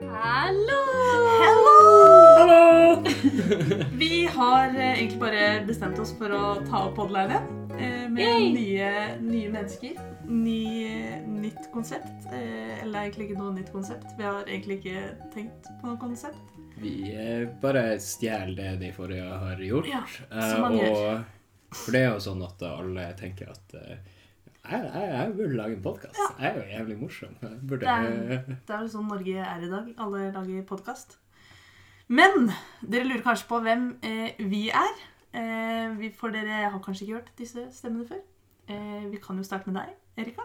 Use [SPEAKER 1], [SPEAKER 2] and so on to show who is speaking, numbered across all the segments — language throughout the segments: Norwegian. [SPEAKER 1] Hallo!
[SPEAKER 2] Hallo!
[SPEAKER 1] Vi har eh, egentlig bare bestemt oss for å ta opp podline eh, med
[SPEAKER 2] Yay!
[SPEAKER 1] nye, nye mennesker. Ny, eh, nytt konsept. Eh, eller egentlig ikke noe nytt konsept. Vi har egentlig ikke tenkt på noe konsept.
[SPEAKER 2] Vi eh, bare stjeler det de forrige har gjort.
[SPEAKER 1] Ja,
[SPEAKER 2] eh,
[SPEAKER 1] som man
[SPEAKER 2] og,
[SPEAKER 1] gjør.
[SPEAKER 2] For det er jo sånn at alle tenker at eh, jeg, jeg, jeg burde lage en podkast. Jeg er jo jævlig morsom. Jeg burde
[SPEAKER 1] Det Det er vel sånn Norge er i dag. Alle lager podkast. Men dere lurer kanskje på hvem eh, vi er. Eh, vi, for dere har kanskje ikke hørt disse stemmene før. Eh, vi kan jo starte med deg, Erika.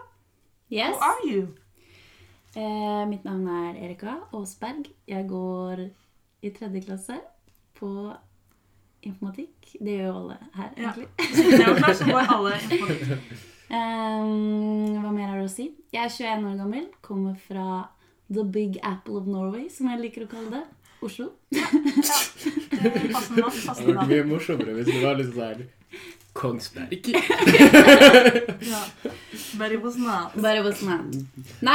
[SPEAKER 3] Yes.
[SPEAKER 1] Who are you?
[SPEAKER 3] Eh, mitt navn er Erika Aasberg. Jeg går i tredje klasse på informatikk. Det gjør jo alle her,
[SPEAKER 1] Ja.
[SPEAKER 3] egentlig.
[SPEAKER 1] Det var klart, så går alle på det.
[SPEAKER 3] Ehm, hva mer er det å si? Jeg er 21 år gammel, kommer fra The Big Apple of Norway, som jeg liker å kalle det. Oslo.
[SPEAKER 1] Eh, Passende navn.
[SPEAKER 2] Det
[SPEAKER 1] Passende
[SPEAKER 2] hadde vært
[SPEAKER 1] navn.
[SPEAKER 2] mye morsommere hvis det var litt sånn her Kongsberg.
[SPEAKER 1] Ja. Very was not.
[SPEAKER 3] Bare på sånn her. Nei,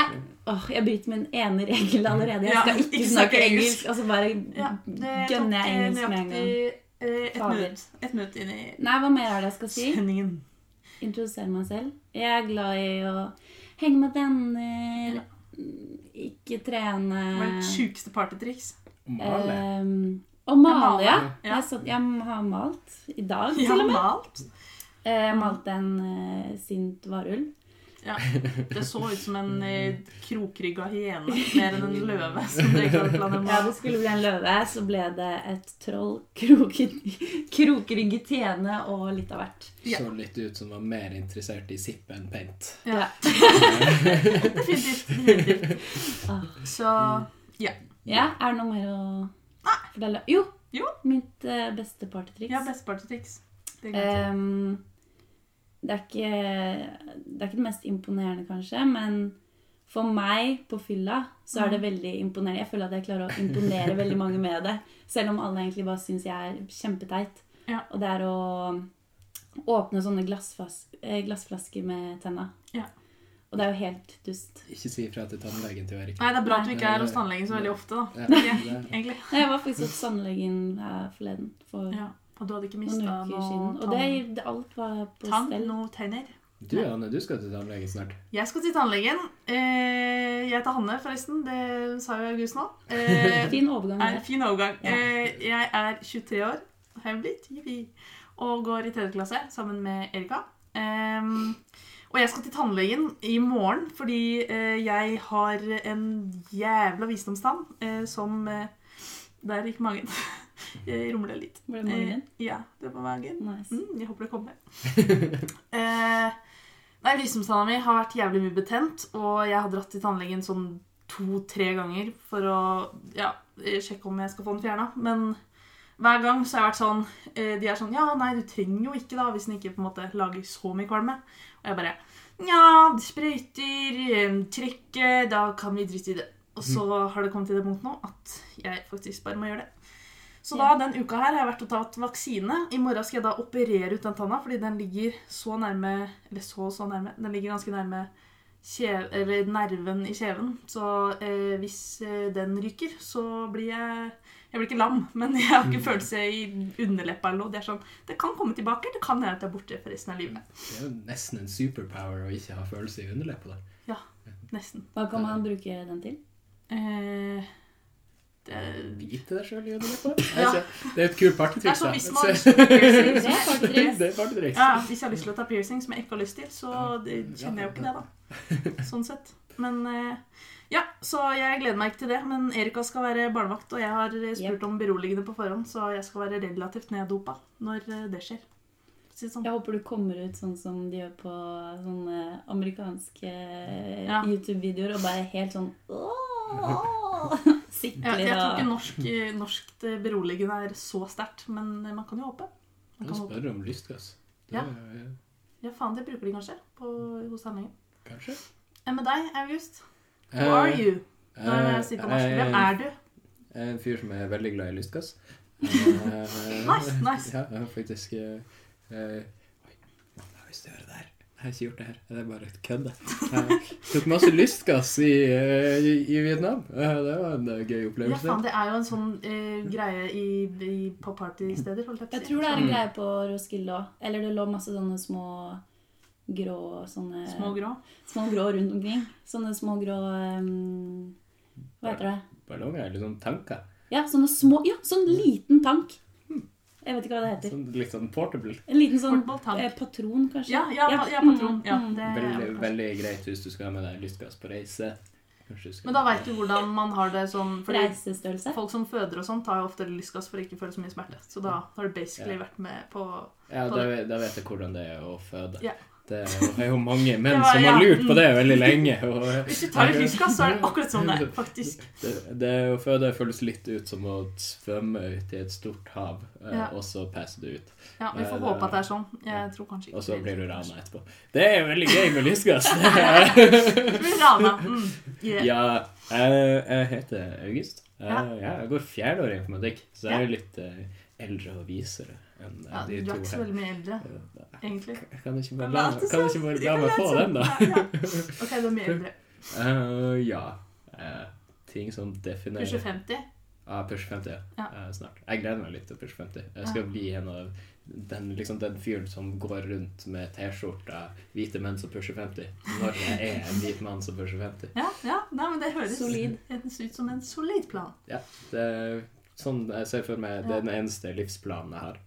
[SPEAKER 3] åh, jeg bryter min ene regel allerede. Jeg
[SPEAKER 1] Ja,
[SPEAKER 3] skal ikke snakke engelsk. Altså bare
[SPEAKER 1] Ja, det tok
[SPEAKER 3] gønner jeg
[SPEAKER 1] eh,
[SPEAKER 3] engelsk med en gang.
[SPEAKER 1] nøyaktig eh, et
[SPEAKER 3] Fader.
[SPEAKER 1] minutt, et minutt inn i
[SPEAKER 3] Nei, hva mer er det jeg skal si?
[SPEAKER 1] sendingen.
[SPEAKER 3] Introdusere meg selv. Jeg er glad i å henge med venner, ikke trene
[SPEAKER 1] Hva er ditt sjukeste partytriks?
[SPEAKER 2] Male.
[SPEAKER 1] Eh,
[SPEAKER 3] Ehm, Og male, ja.
[SPEAKER 1] Ja.
[SPEAKER 3] Jeg, satt, jeg har malt i dag,
[SPEAKER 1] Ja,
[SPEAKER 3] til og med.
[SPEAKER 1] malt.
[SPEAKER 3] Eh, Jeg malte en eh, sint varulv.
[SPEAKER 1] Ja. Det så ut som en eh, krokrygga hyene mer enn en løve. som det ikke hadde planer om.
[SPEAKER 3] Ja, det skulle bli en løve, så ble det et troll, kroken, krokrygget hyene og litt av hvert.
[SPEAKER 1] ja.
[SPEAKER 2] Så litt ut som var mer interessert i sippe enn pent.
[SPEAKER 1] Ja. Definitivt. definitivt.
[SPEAKER 3] Ah.
[SPEAKER 1] Så
[SPEAKER 3] Ja, er det noe mer å fortelle? Jo!
[SPEAKER 1] Jo.
[SPEAKER 3] Mitt eh, beste partytriks.
[SPEAKER 1] ja, beste partytriks. Det kan jeg si.
[SPEAKER 3] Ehm, det, er ikke, det er ikke det mest imponerende, kanskje, men for meg på fylla så
[SPEAKER 1] Mm.
[SPEAKER 3] er det veldig imponerende. Jeg føler at jeg klarer å imponere veldig mange med det, selv om alle egentlig bare syns jeg er kjempeteit.
[SPEAKER 1] Ja.
[SPEAKER 3] Og det er å åpne sånne glassfas eh, glassflasker med tenna.
[SPEAKER 1] Ja.
[SPEAKER 3] Og det er jo helt dust.
[SPEAKER 2] Ikke si ifra til tannlegen til Erik.
[SPEAKER 1] Nei, det er bra at du ikke er hos tannlegen så veldig ofte, da.
[SPEAKER 2] Ja,
[SPEAKER 1] Ja,
[SPEAKER 2] det-
[SPEAKER 1] Egentlig.
[SPEAKER 3] Nei, jeg var faktisk hos tannlegen her forleden for
[SPEAKER 1] Ja. Og du hadde ikke
[SPEAKER 3] noen
[SPEAKER 1] mista
[SPEAKER 3] uker siden,
[SPEAKER 1] noe
[SPEAKER 3] og det, det alt var på
[SPEAKER 1] tann,
[SPEAKER 3] stell.
[SPEAKER 1] noe tenner?
[SPEAKER 2] Du Anne, du skal til tannlegen snart.
[SPEAKER 1] Jeg skal til tannlegen. Eh, jeg heter Hanne, forresten. Det sa jo August nå. Eh,
[SPEAKER 3] Fin overgang.
[SPEAKER 1] er
[SPEAKER 3] der.
[SPEAKER 1] fin overgang.
[SPEAKER 3] Ja.
[SPEAKER 1] Eh, jeg er 23 år, har jeg blitt, Jippi. og går i tredje klasse sammen med Erika. Ehm, og jeg skal til tannlegen i morgen fordi eh, jeg har en jævla visdomstann eh, som eh, Der gikk magen. jeg rumla litt.
[SPEAKER 3] Ble det morgen?
[SPEAKER 1] Eh, ja, det var magen.
[SPEAKER 3] Nice.
[SPEAKER 1] Mm, jeg håper det kommer. eh, nei, visdomstanna mi har vært jævlig mye betent, og jeg har dratt til tannlegen sånn to-tre ganger for å ja, eh, sjekke om jeg skal få den fjerna. Men hver gang så har jeg vært sånn eh, De er sånn Ja, nei, du trenger jo ikke, da, hvis den ikke på en måte lager så mye kvalme. Og jeg bare Nja, det sprøyter, eh, trekke Da kan vi drite i det. Og så har det kommet til det punktet nå at jeg faktisk bare må gjøre det. Så da,
[SPEAKER 3] Ja.
[SPEAKER 1] den uka her har jeg vært og tatt vaksine. I morgen skal jeg da operere ut den tanna, fordi den ligger så nærme Eller så så nærme. Den ligger ganske nærme kjev, eller nerven i kjeven. Så eh, hvis eh, den ryker, så blir jeg Jeg blir ikke lam, men jeg har ikke følelse i underleppa eller noe. Det er sånn, det kan komme tilbake, eller det kan være at det er borte for resten av livet.
[SPEAKER 2] Det er jo nesten en superpower å ikke ha følelse i underleppa. da.
[SPEAKER 1] Nesten.
[SPEAKER 3] Hva kan man bruke den til?
[SPEAKER 1] Eh, det,
[SPEAKER 2] Bite deg sjøl i underleppa.
[SPEAKER 1] Ja.
[SPEAKER 2] Altså, Det er et
[SPEAKER 1] det
[SPEAKER 2] kult
[SPEAKER 1] er
[SPEAKER 2] partytriks.
[SPEAKER 1] sånn
[SPEAKER 2] da.
[SPEAKER 1] hvis man har lyst til å ta piercing,
[SPEAKER 3] Det er
[SPEAKER 1] så-
[SPEAKER 3] partytriks.
[SPEAKER 2] Det er partytriks.
[SPEAKER 1] ja, Hvis jeg har lyst til å ta piercing som jeg ikke har lyst til, så det, kjenner jeg jo ikke det, da. Sånn sett. Men eh, ja, så jeg gleder meg ikke til det. Men Erika skal være barnevakt, og jeg har eh, spurt om beroligende på forhånd, så jeg skal være relativt neddopa når eh, det skjer. Si det sånn.
[SPEAKER 3] Jeg håper du kommer ut sånn som de gjør på sånne amerikanske eh,
[SPEAKER 1] Ja.
[SPEAKER 3] YouTube-videoer, og bare helt sånn «Åh!»
[SPEAKER 1] Ja,
[SPEAKER 3] Sikler
[SPEAKER 1] jeg tror ikke
[SPEAKER 3] og
[SPEAKER 1] norsk, norskt beroligende er så sterkt, men eh, man kan jo håpe. Man
[SPEAKER 2] Du
[SPEAKER 1] kan håpe.
[SPEAKER 2] spør om lystgass. Det
[SPEAKER 1] Ja.
[SPEAKER 2] er jo-
[SPEAKER 1] Ja, faen, det bruker de kanskje på, hos tannlegen.
[SPEAKER 2] Kanskje.
[SPEAKER 1] Enn med deg, August?
[SPEAKER 2] Eh,
[SPEAKER 1] Who are you? Nå er jeg sikker på norsk. Hvem er du?
[SPEAKER 2] Jeg er Eh, en fyr som er veldig glad i lystgass. nice,
[SPEAKER 1] nice.
[SPEAKER 2] Ja, jeg har faktisk eh, eh, Oi, eh, hva har jeg lyst til å gjøre der? Jeg har ikke gjort det her. Det er bare et kødd. Jeg tok masse lystgass i, eh, i, i Vietnam. Eh, Det var en eh, gøy
[SPEAKER 1] Ja,
[SPEAKER 2] opplevelse.
[SPEAKER 1] faen, det er jo en sånn eh, greie i, i, på partysteder, holdt jeg på
[SPEAKER 3] Jeg
[SPEAKER 1] å si.
[SPEAKER 3] tror det er en
[SPEAKER 2] Mm.
[SPEAKER 3] greie på Roskilde òg. Eller det lå masse sånne små grå sånne
[SPEAKER 1] Små grå.
[SPEAKER 3] små grå rundt omkring. Sånne små grå ehm, Hva heter det?
[SPEAKER 2] Ballonger er litt sånn tanker.
[SPEAKER 3] Ja, sånne små Ja, sånn liten tank.
[SPEAKER 1] Mm.
[SPEAKER 3] Jeg vet ikke hva det heter.
[SPEAKER 2] Sånn, litt sånn portable.
[SPEAKER 3] En liten sånn
[SPEAKER 1] Portable tank.
[SPEAKER 3] eh, patron, kanskje.
[SPEAKER 1] Ja, ja, pa- ja patron.
[SPEAKER 3] Mm,
[SPEAKER 1] Ja,
[SPEAKER 3] mm.
[SPEAKER 1] det er
[SPEAKER 2] Veldig,
[SPEAKER 1] kanskje-
[SPEAKER 2] veldig greit hvis du skal ha med deg lystgass på reise. Kanskje du skal
[SPEAKER 1] Men da veit du hvordan man har det sånn fordi
[SPEAKER 3] Reisestørrelse.
[SPEAKER 1] Folk som føder og sånt, har jo ofte lystgass for å ikke føle så mye smerte. Så da har du basically
[SPEAKER 2] Ja.
[SPEAKER 1] vært med på
[SPEAKER 2] Ja, da, ve- da vet jeg hvordan det er å føde.
[SPEAKER 1] Ja.
[SPEAKER 2] Det er jo, det er jo mange menn
[SPEAKER 1] Det var-
[SPEAKER 2] som har
[SPEAKER 1] ja,
[SPEAKER 2] lurt på
[SPEAKER 1] mm.
[SPEAKER 2] det veldig lenge. Og,
[SPEAKER 1] Hvis du tar litt lystgass, så er det akkurat sånn det er, faktisk.
[SPEAKER 2] det, det å føde føles litt ut som å svømme ut i et stort hav, eh,
[SPEAKER 1] Ja.
[SPEAKER 2] og så passer du ut.
[SPEAKER 1] Ja, Vi
[SPEAKER 2] Eh,
[SPEAKER 1] får
[SPEAKER 2] det-
[SPEAKER 1] håpe at det er sånn. Jeg tror kanskje ikke
[SPEAKER 2] Og så
[SPEAKER 1] det.
[SPEAKER 2] blir du rana etterpå. Det er jo veldig gøy med lystgass!
[SPEAKER 1] Du blir rana. Mm. Yeah.
[SPEAKER 2] ja, jeg, jeg heter August. Jeg,
[SPEAKER 1] Ja.
[SPEAKER 2] ja, jeg går fjerdeår i informatikk, så jeg er jo litt eh, eldre og visere enn eh,
[SPEAKER 1] Ja, du
[SPEAKER 2] de
[SPEAKER 1] er
[SPEAKER 2] to
[SPEAKER 1] ikke så
[SPEAKER 2] her.
[SPEAKER 1] veldig mye eldre,
[SPEAKER 2] Eh,
[SPEAKER 1] egentlig.
[SPEAKER 2] Kan du ikke bare
[SPEAKER 1] Men
[SPEAKER 2] la,
[SPEAKER 1] alt er
[SPEAKER 2] kan du
[SPEAKER 1] sant.
[SPEAKER 2] ikke bare
[SPEAKER 1] Jeg
[SPEAKER 2] la
[SPEAKER 1] kan
[SPEAKER 2] meg
[SPEAKER 1] lese
[SPEAKER 2] få
[SPEAKER 1] den.
[SPEAKER 2] den, da?
[SPEAKER 1] Ja, ja. Ok, du er mye eldre.
[SPEAKER 2] Eh, ja. Eh, ting som definerer
[SPEAKER 1] Kanskje 50?
[SPEAKER 2] Ja, push 50. Ja. Eh, snart. Jeg gleder meg litt til push 50. Jeg skal
[SPEAKER 1] Ja.
[SPEAKER 2] bli en av den, liksom, den fyren som går rundt med T-skjorta 'Hvite menn som pusher 50'. Når jeg er en hvit mann som pusher 50.
[SPEAKER 1] Ja, ja. Nei, men det høres
[SPEAKER 3] Solid.
[SPEAKER 1] ut som en solid plan.
[SPEAKER 2] Det er sånn jeg ser for meg det er den eneste livsplanen jeg har.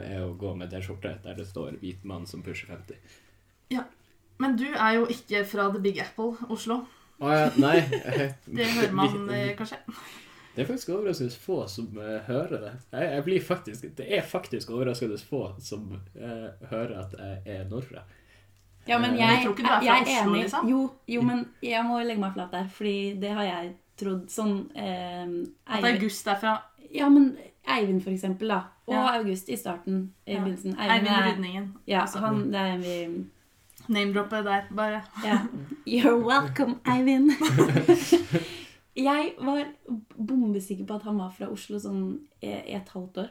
[SPEAKER 2] eh, Er å gå med T-skjorte der det står 'Hvit mann som pusher 50'.
[SPEAKER 1] Men du er jo ikke fra The Big Apple, Oslo.
[SPEAKER 2] Å ja, nei. eh,
[SPEAKER 1] Det hører man eh, kanskje?
[SPEAKER 2] Det er faktisk overraskende få som eh, hører det. Jeg, jeg blir faktisk, det er faktisk overraskende få som eh, hører at jeg er nordfra.
[SPEAKER 3] Ja, men
[SPEAKER 2] Eh,
[SPEAKER 3] jeg,
[SPEAKER 1] Jeg tror ikke du er fra
[SPEAKER 3] jeg, er
[SPEAKER 1] Oslo,
[SPEAKER 3] enig.
[SPEAKER 1] liksom.
[SPEAKER 3] Jo, jo, men jeg må legge meg flat der, fordi det har jeg trodd. Sånn eh,
[SPEAKER 1] At
[SPEAKER 3] Eivind-
[SPEAKER 1] August er fra
[SPEAKER 3] Ja, men Eivind, for eksempel, da. Og
[SPEAKER 1] Ja.
[SPEAKER 3] August i starten. I
[SPEAKER 1] Ja.
[SPEAKER 3] begynnelsen.
[SPEAKER 1] Eivind
[SPEAKER 3] er-
[SPEAKER 1] Rydningen.
[SPEAKER 3] Ja,
[SPEAKER 1] Altså,
[SPEAKER 3] han, det er vi
[SPEAKER 1] Name-droppet der, bare.
[SPEAKER 3] Ja. You're welcome, Eivind. jeg var bombesikker på at han var fra Oslo sånn i i et halvt år.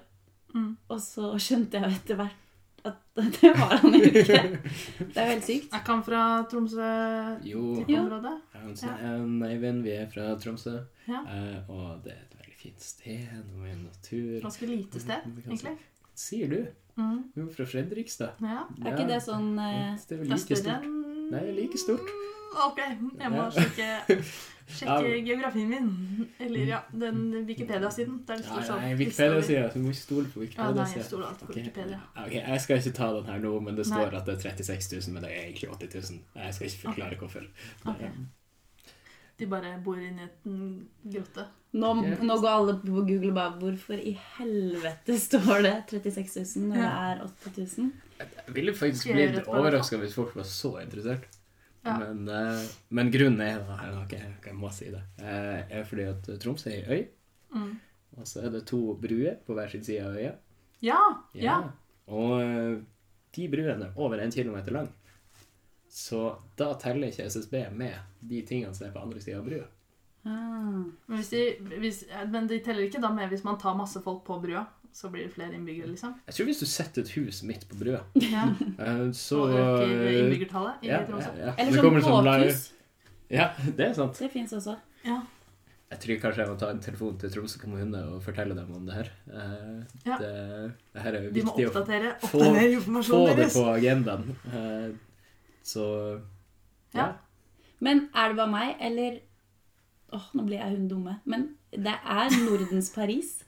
[SPEAKER 1] Mm.
[SPEAKER 3] Og så skjønte jeg jo etter hvert at det var han jo ikke. Det er jo helt sykt.
[SPEAKER 1] Er ikke han fra Tromsø-området?
[SPEAKER 2] Jo,
[SPEAKER 3] Jo.
[SPEAKER 2] han sa, eh, Eivind, vi er fra Tromsø.
[SPEAKER 1] Ja.
[SPEAKER 2] Eh, og det er et veldig fint sted, og mye natur.
[SPEAKER 1] Ganske lite sted,
[SPEAKER 2] Mm,
[SPEAKER 1] egentlig.
[SPEAKER 2] Sier du?
[SPEAKER 1] Mm.
[SPEAKER 2] Du er fra Fredrikstad.
[SPEAKER 1] Ja.
[SPEAKER 3] Er ikke det sånn eh,
[SPEAKER 2] Det er
[SPEAKER 1] Det er
[SPEAKER 2] vel like
[SPEAKER 1] større
[SPEAKER 2] stort.
[SPEAKER 1] enn
[SPEAKER 2] Nei, like stort.
[SPEAKER 1] Ok, jeg må
[SPEAKER 2] Ja.
[SPEAKER 1] sjekke, sjekke
[SPEAKER 2] Ja.
[SPEAKER 1] geografien min. Eller ja, den Wikipedia-siden. Der det
[SPEAKER 2] Nei,
[SPEAKER 1] står sånn.
[SPEAKER 2] nei
[SPEAKER 1] liste over-
[SPEAKER 2] Wikipedia-sida. Du må ikke stole på
[SPEAKER 1] Ja, nei, jeg
[SPEAKER 2] Wikipedia-sida.
[SPEAKER 1] stoler alltid på Wikipedia.
[SPEAKER 2] Ok, Jeg skal ikke ta den her nå, men det
[SPEAKER 1] Nei.
[SPEAKER 2] står at det er 36 000, men det er egentlig 80 000. Jeg skal ikke forklare hvorfor.
[SPEAKER 1] Ok. De bare bor inni et mm, grotte.
[SPEAKER 3] nå, nå går alle på Google og bare Hvorfor i helvete står det 36 000 når det er 8000?
[SPEAKER 2] Jeg ville faktisk
[SPEAKER 1] Skal jeg gjøre
[SPEAKER 2] blitt
[SPEAKER 1] et par
[SPEAKER 2] overraska hvis folk var så interessert.
[SPEAKER 1] Ja.
[SPEAKER 2] Men, eh, men grunnen er da, jeg, ok, ok, jeg må si det, eh, er fordi at Tromsø er ei øy,
[SPEAKER 1] Mm.
[SPEAKER 2] og så er det to bruer på hver sin side av øya.
[SPEAKER 1] Ja, ja.
[SPEAKER 2] Og eh, de bruene er over en kilometer lang. Så da teller ikke SSB med de tingene som er på andre sida av brua.
[SPEAKER 3] Ah.
[SPEAKER 1] Men, hvis de, hvis, men de teller ikke da med hvis man tar masse folk på brua. Så blir det flere innbyggere, liksom.
[SPEAKER 2] Jeg tror hvis du setter et hus midt på brua,
[SPEAKER 1] Ja.
[SPEAKER 2] eh, så eh,
[SPEAKER 1] Og øker innbyggertallet i
[SPEAKER 2] ja, ja,
[SPEAKER 1] Tromsø.
[SPEAKER 2] ja.
[SPEAKER 3] Eller
[SPEAKER 2] Så
[SPEAKER 3] sånn
[SPEAKER 2] kommer det sånn live-
[SPEAKER 3] båthus.
[SPEAKER 2] Ja, det er sant.
[SPEAKER 3] Det fins også.
[SPEAKER 1] Ja.
[SPEAKER 2] Jeg tror kanskje jeg må ta en telefon til Tromsø kommune og fortelle dem om det her. Eh,
[SPEAKER 1] Ja.
[SPEAKER 2] Det, det her er jo
[SPEAKER 1] De må
[SPEAKER 2] viktig å
[SPEAKER 1] oppdatere,
[SPEAKER 2] få-
[SPEAKER 1] oppdatere
[SPEAKER 2] få
[SPEAKER 1] informasjonen
[SPEAKER 2] det
[SPEAKER 1] deres.
[SPEAKER 2] på agendaen. Eh, så ja.
[SPEAKER 1] Ja.
[SPEAKER 3] Men er det bare meg, eller Åh, nå blir jeg hun dumme. Men det er Nordens Paris.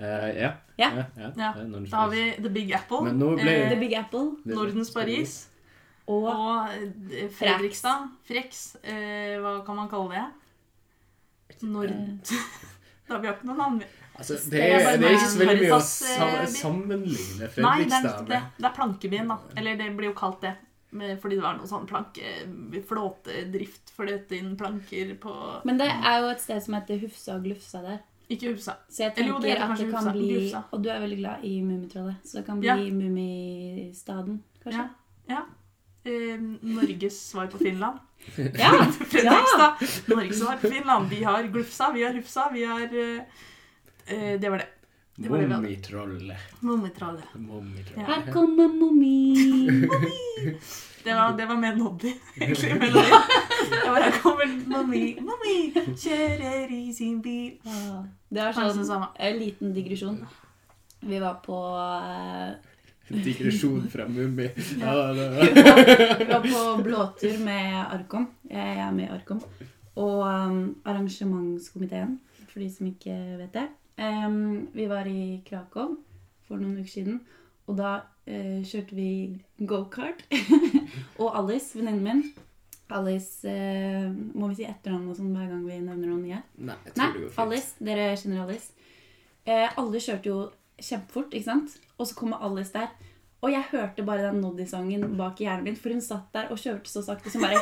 [SPEAKER 2] Eh, ja.
[SPEAKER 3] Ja.
[SPEAKER 2] ja.
[SPEAKER 1] Ja,
[SPEAKER 2] Det er Nordens
[SPEAKER 1] Da har vi Big- The Big Apple,
[SPEAKER 2] Men nå ble-
[SPEAKER 3] The
[SPEAKER 1] eh,
[SPEAKER 3] Big Apple
[SPEAKER 2] Paris.
[SPEAKER 1] Nordens Paris
[SPEAKER 3] og
[SPEAKER 1] og eh, Fredrikstad. Frex. Eh, hva kan man kalle det? Nord... da har vi ikke noe navn.
[SPEAKER 2] Altså, det,
[SPEAKER 3] Det
[SPEAKER 2] er,
[SPEAKER 3] er bare
[SPEAKER 2] det er ikke så veldig mye å
[SPEAKER 1] Veritas, eh,
[SPEAKER 2] sam-
[SPEAKER 1] by.
[SPEAKER 2] sammenligne
[SPEAKER 1] Nei, det er,
[SPEAKER 2] Fredrikstad
[SPEAKER 1] det,
[SPEAKER 2] med.
[SPEAKER 1] det er plankebyen, da. Eller det blir jo kalt det. men- Fordi det var noe sånn planke... Flåtedrift fløte inn planker på
[SPEAKER 3] Men det er jo et sted som heter Hufsa og Glufsa der.
[SPEAKER 1] Ikke Hufsa.
[SPEAKER 3] Så jeg
[SPEAKER 1] Eller jo,
[SPEAKER 3] tenker
[SPEAKER 1] det
[SPEAKER 3] at
[SPEAKER 1] heter
[SPEAKER 3] det
[SPEAKER 1] kanskje
[SPEAKER 3] kan
[SPEAKER 1] Hufsa.
[SPEAKER 3] bli
[SPEAKER 1] Glufsa.
[SPEAKER 3] Og du er veldig glad i Mummitrollet, så det kan bli
[SPEAKER 1] Ja.
[SPEAKER 3] Mummistaden, kanskje?
[SPEAKER 1] Ja. ja. Eh, Norges svar på Finland.
[SPEAKER 3] Ja!
[SPEAKER 1] Fredrikstad. Norges svar på Finland. Vi har Glufsa, vi har Hufsa, vi har eh, eh, Det var det. Det var det vi hadde.
[SPEAKER 2] Mummitrollet.
[SPEAKER 1] Mummitrollet.
[SPEAKER 2] Mummitrollet.
[SPEAKER 3] Her kommer mommi!
[SPEAKER 1] Det var, det var mer noddy, egentlig. melodien. Det var her kommer Mummi, mummi kjører i sin bil.
[SPEAKER 3] Ah, Det var
[SPEAKER 1] Kanskje det
[SPEAKER 3] sånn
[SPEAKER 1] samme.
[SPEAKER 3] en liten digresjon. Vi var på, eh,
[SPEAKER 2] Digresjon fra Mummi. Ja, det
[SPEAKER 3] vi
[SPEAKER 2] var.
[SPEAKER 3] var, vi var på blåtur med Arkom. Jeg er med i Arkom. Og um, arrangementskomiteen, for de som ikke vet det. Em, vi var i Krakow for noen uker siden, og da eh, kjørte vi gokart. og Alice, venninnen min Alice eh, Må vi si etternavn og sånn hver gang vi nevner noen nye?
[SPEAKER 2] Nei, jeg tror det
[SPEAKER 3] Nei,
[SPEAKER 2] går fint.
[SPEAKER 3] Alice. Dere kjenner Alice. Eh, alle kjørte jo kjempefort, ikke sant? Og så kommer Alice der. Og jeg hørte bare den Noddy-sangen bak i hjernen min, for hun satt der og kjørte så sakte som bare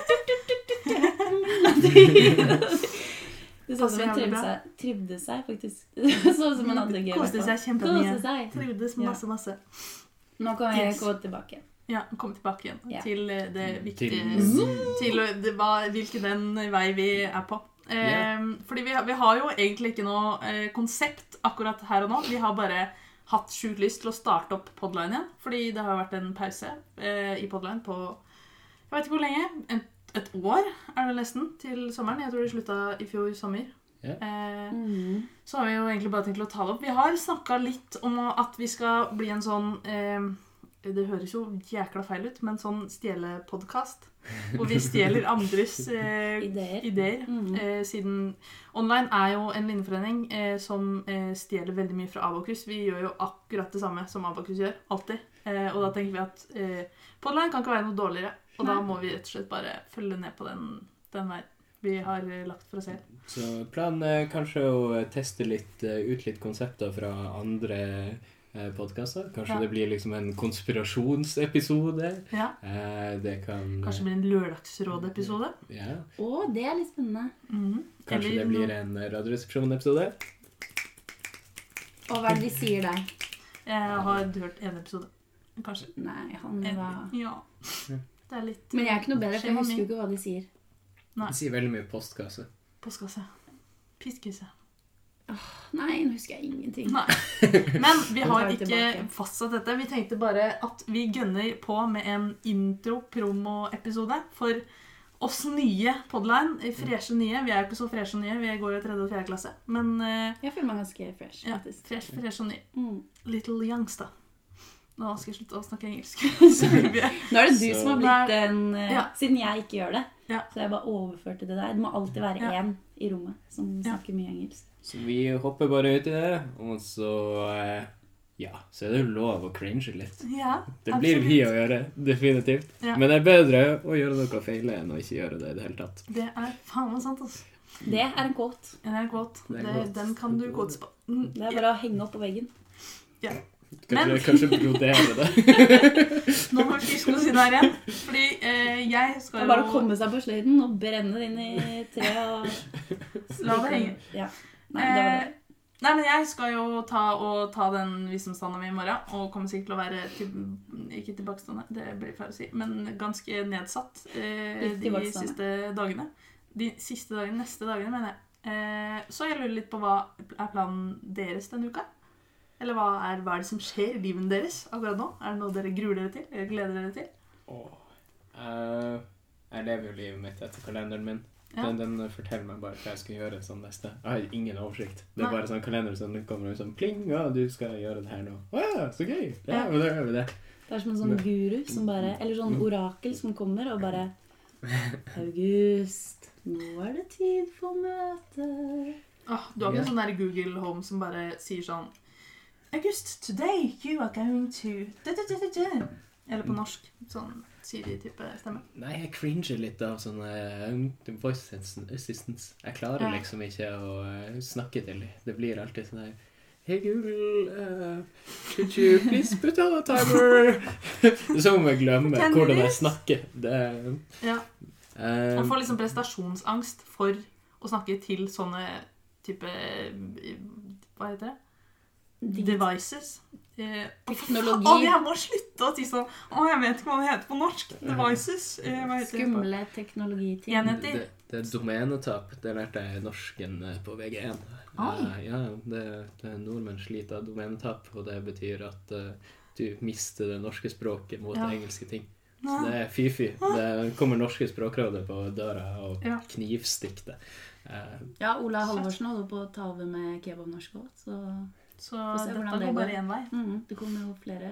[SPEAKER 3] Det så ut som hun trivde seg, trivde seg faktisk. Det så ut som hun hadde det gøy. i hvert
[SPEAKER 1] Koste
[SPEAKER 3] fall.
[SPEAKER 1] seg kjempemye.
[SPEAKER 3] Koste seg.
[SPEAKER 1] Trivdes masse, masse.
[SPEAKER 3] Nå kan jeg
[SPEAKER 1] Yes.
[SPEAKER 3] gå tilbake.
[SPEAKER 1] Ja, kom tilbake igjen
[SPEAKER 3] Ja.
[SPEAKER 1] til eh, det viktige
[SPEAKER 2] Mm. Til-
[SPEAKER 1] Til eh, det, hva, hvilken den vei vi er på. Eh,
[SPEAKER 2] Ja.
[SPEAKER 1] Fordi vi, har- vi har jo egentlig ikke noe eh, konsept akkurat her og nå. Vi har bare hatt sjukt lyst til å starte opp podline igjen. Fordi det har vært en pause eh, i podline på jeg vet ikke hvor lenge. En, et år er det nesten til sommeren. Jeg tror de slutta i fjor sommer.
[SPEAKER 2] Ja.
[SPEAKER 1] Eh,
[SPEAKER 3] Mm.
[SPEAKER 1] så har vi jo egentlig bare tenkt å ta det opp. Vi har snakka litt om at vi skal bli en sånn eh, Det høres jo jækla feil ut, men sånn stjelepodkast. Hvor vi stjeler andres eh,
[SPEAKER 3] Ideer.
[SPEAKER 1] ideer.
[SPEAKER 3] Mm.
[SPEAKER 1] Eh, siden Online er jo en linjeforening eh, som eh, stjeler veldig mye fra Abakus. Vi gjør jo akkurat det samme som Abakus gjør. Alltid. Eh, og da tenker vi at eh, Podline kan ikke være noe dårligere. Og da
[SPEAKER 3] Nei.
[SPEAKER 1] må vi rett og slett bare følge ned på den, den veien vi har eh, lagt for oss selv.
[SPEAKER 2] Så planen er kanskje å teste litt eh, ut litt konsepter fra andre eh, podkaster. Kanskje
[SPEAKER 1] Ja.
[SPEAKER 2] det blir liksom en konspirasjonsepisode.
[SPEAKER 1] Ja.
[SPEAKER 2] Eh, Det kan
[SPEAKER 1] Kanskje det blir en Lørdagsrådet-episode.
[SPEAKER 2] Ja.
[SPEAKER 3] Å, det er litt spennende.
[SPEAKER 1] Mhm.
[SPEAKER 2] Mm. Kanskje
[SPEAKER 1] Eller
[SPEAKER 2] det blir
[SPEAKER 1] noe-
[SPEAKER 2] en Radioresepsjon-episode.
[SPEAKER 3] Og hva er det de sier der?
[SPEAKER 1] Jeg har hørt en episode. Kanskje.
[SPEAKER 3] Nei, han
[SPEAKER 1] En,
[SPEAKER 3] var
[SPEAKER 1] ja. Det er litt
[SPEAKER 3] Men jeg er ikke noe bedre, for jeg
[SPEAKER 1] Skjema
[SPEAKER 3] husker
[SPEAKER 1] mi.
[SPEAKER 3] jo ikke hva de sier.
[SPEAKER 1] Nei.
[SPEAKER 2] Det sier veldig mye postkasse.
[SPEAKER 1] postkasse. Piskese.
[SPEAKER 3] Nei, nå husker jeg ingenting.
[SPEAKER 1] Nei. Men vi
[SPEAKER 3] Vi
[SPEAKER 1] har
[SPEAKER 3] tar det
[SPEAKER 1] ikke
[SPEAKER 3] tilbake.
[SPEAKER 1] fastsatt dette. Vi tenkte bare at vi gønner på med en intro-promo-episode for oss nye
[SPEAKER 2] Mm.
[SPEAKER 1] podline. Freshe nye. Vi er jo ikke så freshe nye. Vi går jo i tredje og fjerde klasse. Men uh,
[SPEAKER 3] Jeg føler meg ganske fresh,
[SPEAKER 1] ja,
[SPEAKER 3] faktisk.
[SPEAKER 1] fresh, fresh og ny.
[SPEAKER 3] Mm.
[SPEAKER 1] Little youngs, da. Nå skal jeg slutte å snakke engelsk. Så vi er-
[SPEAKER 3] Nå er det du
[SPEAKER 2] Så-
[SPEAKER 3] som har blitt en eh,
[SPEAKER 1] Ja.
[SPEAKER 3] Siden jeg ikke gjør det,
[SPEAKER 1] Ja.
[SPEAKER 3] så jeg bare overførte det der. Det må alltid være
[SPEAKER 1] Ja.
[SPEAKER 3] én i rommet som
[SPEAKER 1] Ja.
[SPEAKER 3] snakker mye engelsk.
[SPEAKER 2] Så vi hopper bare ut i det, og så eh, Ja, så er det jo lov å cringe litt.
[SPEAKER 1] ja,
[SPEAKER 2] Det blir vi
[SPEAKER 1] absolutt.
[SPEAKER 2] å gjøre, definitivt.
[SPEAKER 1] Ja.
[SPEAKER 2] Men det er bedre å gjøre noe feil enn å ikke gjøre det i det hele tatt.
[SPEAKER 1] Det er faen meg sant, altså.
[SPEAKER 3] Det er en quote.
[SPEAKER 1] Ja, Det er en quote.
[SPEAKER 2] Det er en
[SPEAKER 1] Det-
[SPEAKER 2] quote.
[SPEAKER 1] Den kan du quotes på. Mm,
[SPEAKER 3] Det er
[SPEAKER 1] ja.
[SPEAKER 3] bare å henge opp på veggen.
[SPEAKER 2] Kanskje,
[SPEAKER 1] Men-
[SPEAKER 2] kanskje brodere det.
[SPEAKER 1] Nå må vi ikke si det her igjen. Fordi eh, jeg
[SPEAKER 3] Det
[SPEAKER 1] skal
[SPEAKER 3] er bare å komme seg på sløyden og brenne det inn i treet og
[SPEAKER 1] La det henge.
[SPEAKER 3] Ja. Nei, det var det.
[SPEAKER 1] Eh, Nei, men jeg skal jo ta, og ta den visdomstanna mi i morgen. Og kommer sikkert til å være til, ikke tilbakestående, det blir feil å si, men ganske nedsatt eh,
[SPEAKER 3] Ikke
[SPEAKER 1] de
[SPEAKER 3] tilbakestående.
[SPEAKER 1] siste dagene. De siste dagene, neste dagene, mener jeg. Eh, så jeg lurer litt på hva er planen deres denne uka? Eller hva er, hva er det som skjer i livet deres akkurat nå? Er det noe dere gruer dere til? Eller gleder dere til?
[SPEAKER 2] Åh. Eh, jeg lever jo livet mitt etter kalenderen min.
[SPEAKER 1] Ja.
[SPEAKER 2] Den, den forteller meg bare hva jeg skal gjøre sånn neste. Jeg har ingen oversikt. Det
[SPEAKER 1] Nei.
[SPEAKER 2] er bare sånn kalender som kommer ut sånn pling, ja, du skal gjøre det her nå. Å ja, så gøy! Ja,
[SPEAKER 1] Ja.
[SPEAKER 2] men da gjør vi det.
[SPEAKER 3] Det er som en sånn guru som bare Eller sånn orakel som kommer og bare August, nå er det tid for møte.
[SPEAKER 1] Åh, du har ikke en sånn der Google Home som bare sier sånn August, today you are going to da, da, da, da, da. Eller på norsk. Sånn Siri-type stemme.
[SPEAKER 2] Nei, jeg cringer litt av sånne eh, voice assistants. Jeg klarer
[SPEAKER 1] Ja.
[SPEAKER 2] liksom ikke å eh, snakke til dem. Det blir alltid sånn her Hey Google, eh, could you please put on a timer? Det er som om jeg glemmer
[SPEAKER 1] Ten
[SPEAKER 2] hvordan jeg
[SPEAKER 1] minutes.
[SPEAKER 2] snakker. Det er
[SPEAKER 1] Ja.
[SPEAKER 2] Eh,
[SPEAKER 1] Man får liksom prestasjonsangst for å snakke til sånne type eh, Hva heter det?
[SPEAKER 3] Digit-
[SPEAKER 1] Devices. eh,
[SPEAKER 3] Teknologi.
[SPEAKER 1] Å, jeg må slutte å si sånn Å, jeg vet ikke hva det heter på norsk. Devices. Eh, hva heter det?
[SPEAKER 3] Skumle teknologiting.
[SPEAKER 1] Enheter.
[SPEAKER 2] Det, det er domenetap. Det lærte jeg i norsken eh, på VG1. Eh, Ja, det, det Nordmenn sliter av domenetap, og det betyr at eh, du mister det norske språket mot
[SPEAKER 3] Ja.
[SPEAKER 2] engelske ting. Så det er fy-fy. Det kommer norske språkrådet på døra og
[SPEAKER 1] Ja.
[SPEAKER 2] knivstikk det. Eh,
[SPEAKER 3] Ja, Ola Halvorsen holder på å ta over med kebabnorsk òg, så
[SPEAKER 1] Så
[SPEAKER 3] Få se hvordan
[SPEAKER 1] dette
[SPEAKER 3] det
[SPEAKER 1] går
[SPEAKER 3] går.
[SPEAKER 1] bare én vei.
[SPEAKER 3] mhm, det kommer jo flere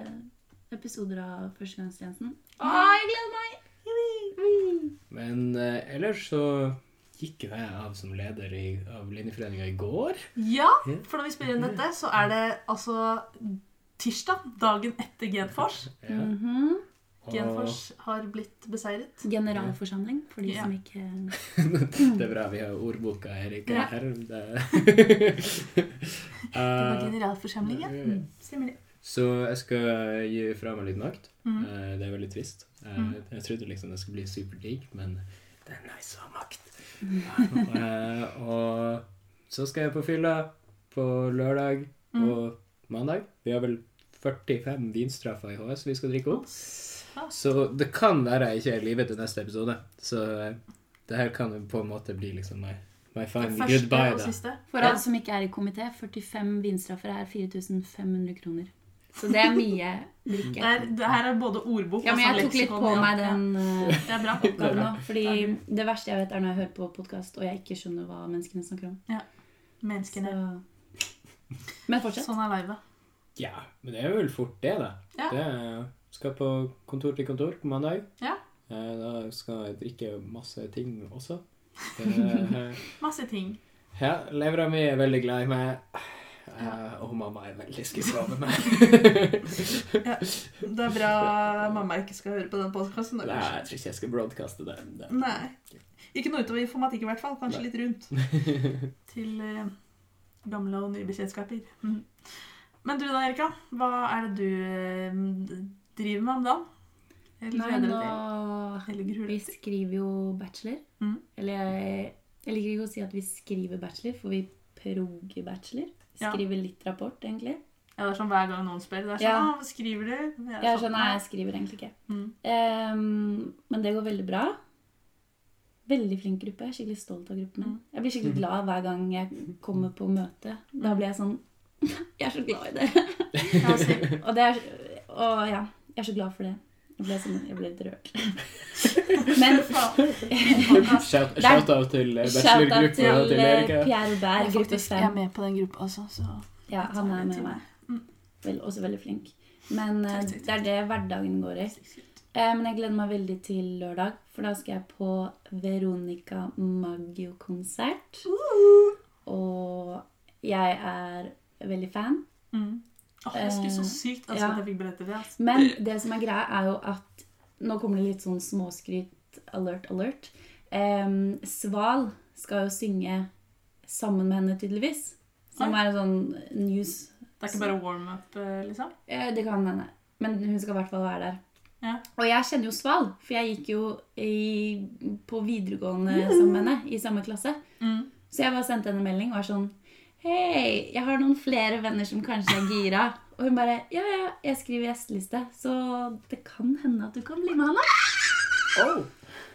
[SPEAKER 3] episoder av Førstegangstjenesten.
[SPEAKER 1] Å,
[SPEAKER 3] jeg gleder meg!
[SPEAKER 2] Men eh, ellers så gikk jo jeg av som leder i, av Linjeforeninga i går.
[SPEAKER 1] Ja, for når vi spiller inn dette, så er det altså tirsdag, dagen etter Genfors.
[SPEAKER 2] Ja.
[SPEAKER 1] Mhm.
[SPEAKER 2] Og
[SPEAKER 1] Genfors har blitt beseiret.
[SPEAKER 3] Generalforsamling, for de
[SPEAKER 1] Ja.
[SPEAKER 3] som ikke
[SPEAKER 2] det er bra vi har ordboka, Erik,
[SPEAKER 1] Ja.
[SPEAKER 2] her. Det,
[SPEAKER 1] Det
[SPEAKER 2] Eh,
[SPEAKER 1] var generalforsamling, ja.
[SPEAKER 2] Mm.
[SPEAKER 1] Stemmer det.
[SPEAKER 2] Så jeg skal gi fra meg litt makt.
[SPEAKER 1] Mm.
[SPEAKER 2] Eh, Det er veldig trist. Eh,
[SPEAKER 1] Mm.
[SPEAKER 2] Jeg trodde liksom det skulle bli superdigg, men det er nice å ha makt.
[SPEAKER 1] Mm.
[SPEAKER 2] Eh, og så skal jeg på fylla på lørdag
[SPEAKER 1] Mm.
[SPEAKER 2] og mandag. Vi har vel 45 vinstraffer i HS vi skal drikke opp. Så det kan være jeg ikke er i live til neste episode. Så eh, det her kan jo på en måte bli liksom my, my final
[SPEAKER 1] Første
[SPEAKER 2] goodbye,
[SPEAKER 1] og
[SPEAKER 2] da.
[SPEAKER 1] siste.
[SPEAKER 3] For alle som ikke er i komité, 45 vinstraffer er 4500 kroner. Så det er mye
[SPEAKER 1] Det,
[SPEAKER 3] drikke.
[SPEAKER 1] er, det her er både ordbok
[SPEAKER 3] Ja, men
[SPEAKER 1] sånn
[SPEAKER 3] jeg tok litt
[SPEAKER 1] leksikon,
[SPEAKER 3] på
[SPEAKER 1] ja.
[SPEAKER 3] meg den eh,
[SPEAKER 1] Ja, Det er bra.
[SPEAKER 3] oppgaven nå. Fordi
[SPEAKER 1] Ja.
[SPEAKER 3] det verste jeg vet, er når jeg hører på podkast og jeg ikke skjønner hva menneskene snakker om. Så...
[SPEAKER 1] Menneskene.
[SPEAKER 3] Men fortsett.
[SPEAKER 1] Sånn er livet.
[SPEAKER 2] Ja, men det er vel fort det, da.
[SPEAKER 1] Ja.
[SPEAKER 2] Det er, skal på kontor til kontor på mandag.
[SPEAKER 1] Ja.
[SPEAKER 2] Eh, Da skal jeg drikke masse ting også. Det-
[SPEAKER 1] Masse ting.
[SPEAKER 2] ja, levra mi er veldig glad i meg. Eh, Og mamma er veldig skuffa over meg.
[SPEAKER 1] Det er bra mamma ikke skal høre på den podkasten.
[SPEAKER 2] Nei, jeg tror ikke jeg skal broadcaste det. eh, det.
[SPEAKER 1] Nei. Ikke noe utover informatikk i hvert fall. Kanskje
[SPEAKER 2] Nei.
[SPEAKER 1] litt rundt. Til eh, gamle og nye bekjentskaper. Mm. Men du da, Erika. Hva er det du eh, driver med om dagen? Eller
[SPEAKER 3] Nei,
[SPEAKER 1] gleder
[SPEAKER 3] nå
[SPEAKER 1] du deg til? Eller gruer du
[SPEAKER 3] Vi
[SPEAKER 1] deg til?
[SPEAKER 3] skriver jo bachelor.
[SPEAKER 1] Mm.
[SPEAKER 3] Eller jeg, jeg liker ikke å si at vi skriver bachelor, for vi proger bachelor.
[SPEAKER 1] Ja.
[SPEAKER 3] Skriver litt rapport, egentlig.
[SPEAKER 1] Ja, det er sånn hver gang noen spør. Det er sånn,
[SPEAKER 3] Ja.
[SPEAKER 1] «Ah, hva skriver du? sånn, Jeg
[SPEAKER 3] Jeg skjønner, nei, jeg skriver egentlig ikke.
[SPEAKER 1] Mm.
[SPEAKER 3] Ehm, men det går veldig bra. Veldig flink gruppe. Jeg er skikkelig stolt av gruppen min.
[SPEAKER 1] Mm.
[SPEAKER 3] Jeg blir skikkelig glad hver gang jeg kommer på møte. Da blir jeg sånn Jeg er så glad i dere.
[SPEAKER 1] Ja, si.
[SPEAKER 3] Og, det er, og ja, jeg er så glad for det. Jeg ble, sånn, jeg ble litt rørt. Men
[SPEAKER 2] Shout,
[SPEAKER 3] er-
[SPEAKER 2] shout out til eh,
[SPEAKER 3] shout-out
[SPEAKER 2] bachelorgruppa
[SPEAKER 3] til
[SPEAKER 2] og til
[SPEAKER 3] eh,
[SPEAKER 2] Erika.
[SPEAKER 3] Pierre Berg, gruppe
[SPEAKER 1] jeg er
[SPEAKER 3] fem.
[SPEAKER 1] med på den gruppa også, så
[SPEAKER 3] Ja, han er med
[SPEAKER 1] Mm.
[SPEAKER 3] meg. Vel, også veldig flink. Men eh,
[SPEAKER 1] Takk, takk,
[SPEAKER 3] det er det hverdagen går i. Eh, Men jeg gleder meg veldig til lørdag, for da skal jeg på Veronica Maggio-konsert. Og jeg er veldig fan.
[SPEAKER 1] mm. Åh, Jeg skulle så
[SPEAKER 3] Eh,
[SPEAKER 1] sykt ønske
[SPEAKER 3] ja.
[SPEAKER 1] at jeg fikk billetter til det. Altså.
[SPEAKER 3] Men det som er greia, er jo at Nå kommer det litt sånn småskryt, alert, alert. Em, Sval skal jo synge sammen med henne, tydeligvis. Som
[SPEAKER 1] Oi.
[SPEAKER 3] er en sånn news.
[SPEAKER 1] Det er ikke bare warm-up, eh, liksom?
[SPEAKER 3] Eh, Det kan hende. Men hun skal i hvert fall være der.
[SPEAKER 1] Ja.
[SPEAKER 3] Og jeg kjenner jo Sval, for jeg gikk jo i, på videregående sammen med henne i samme klasse.
[SPEAKER 1] Mm.
[SPEAKER 3] Så jeg bare sendte henne en melding og var sånn Hei, jeg har noen flere venner som kanskje er gira. Og hun bare Ja, ja, jeg skriver gjesteliste, så det kan hende at du kan bli med, Hanna.
[SPEAKER 2] Oh,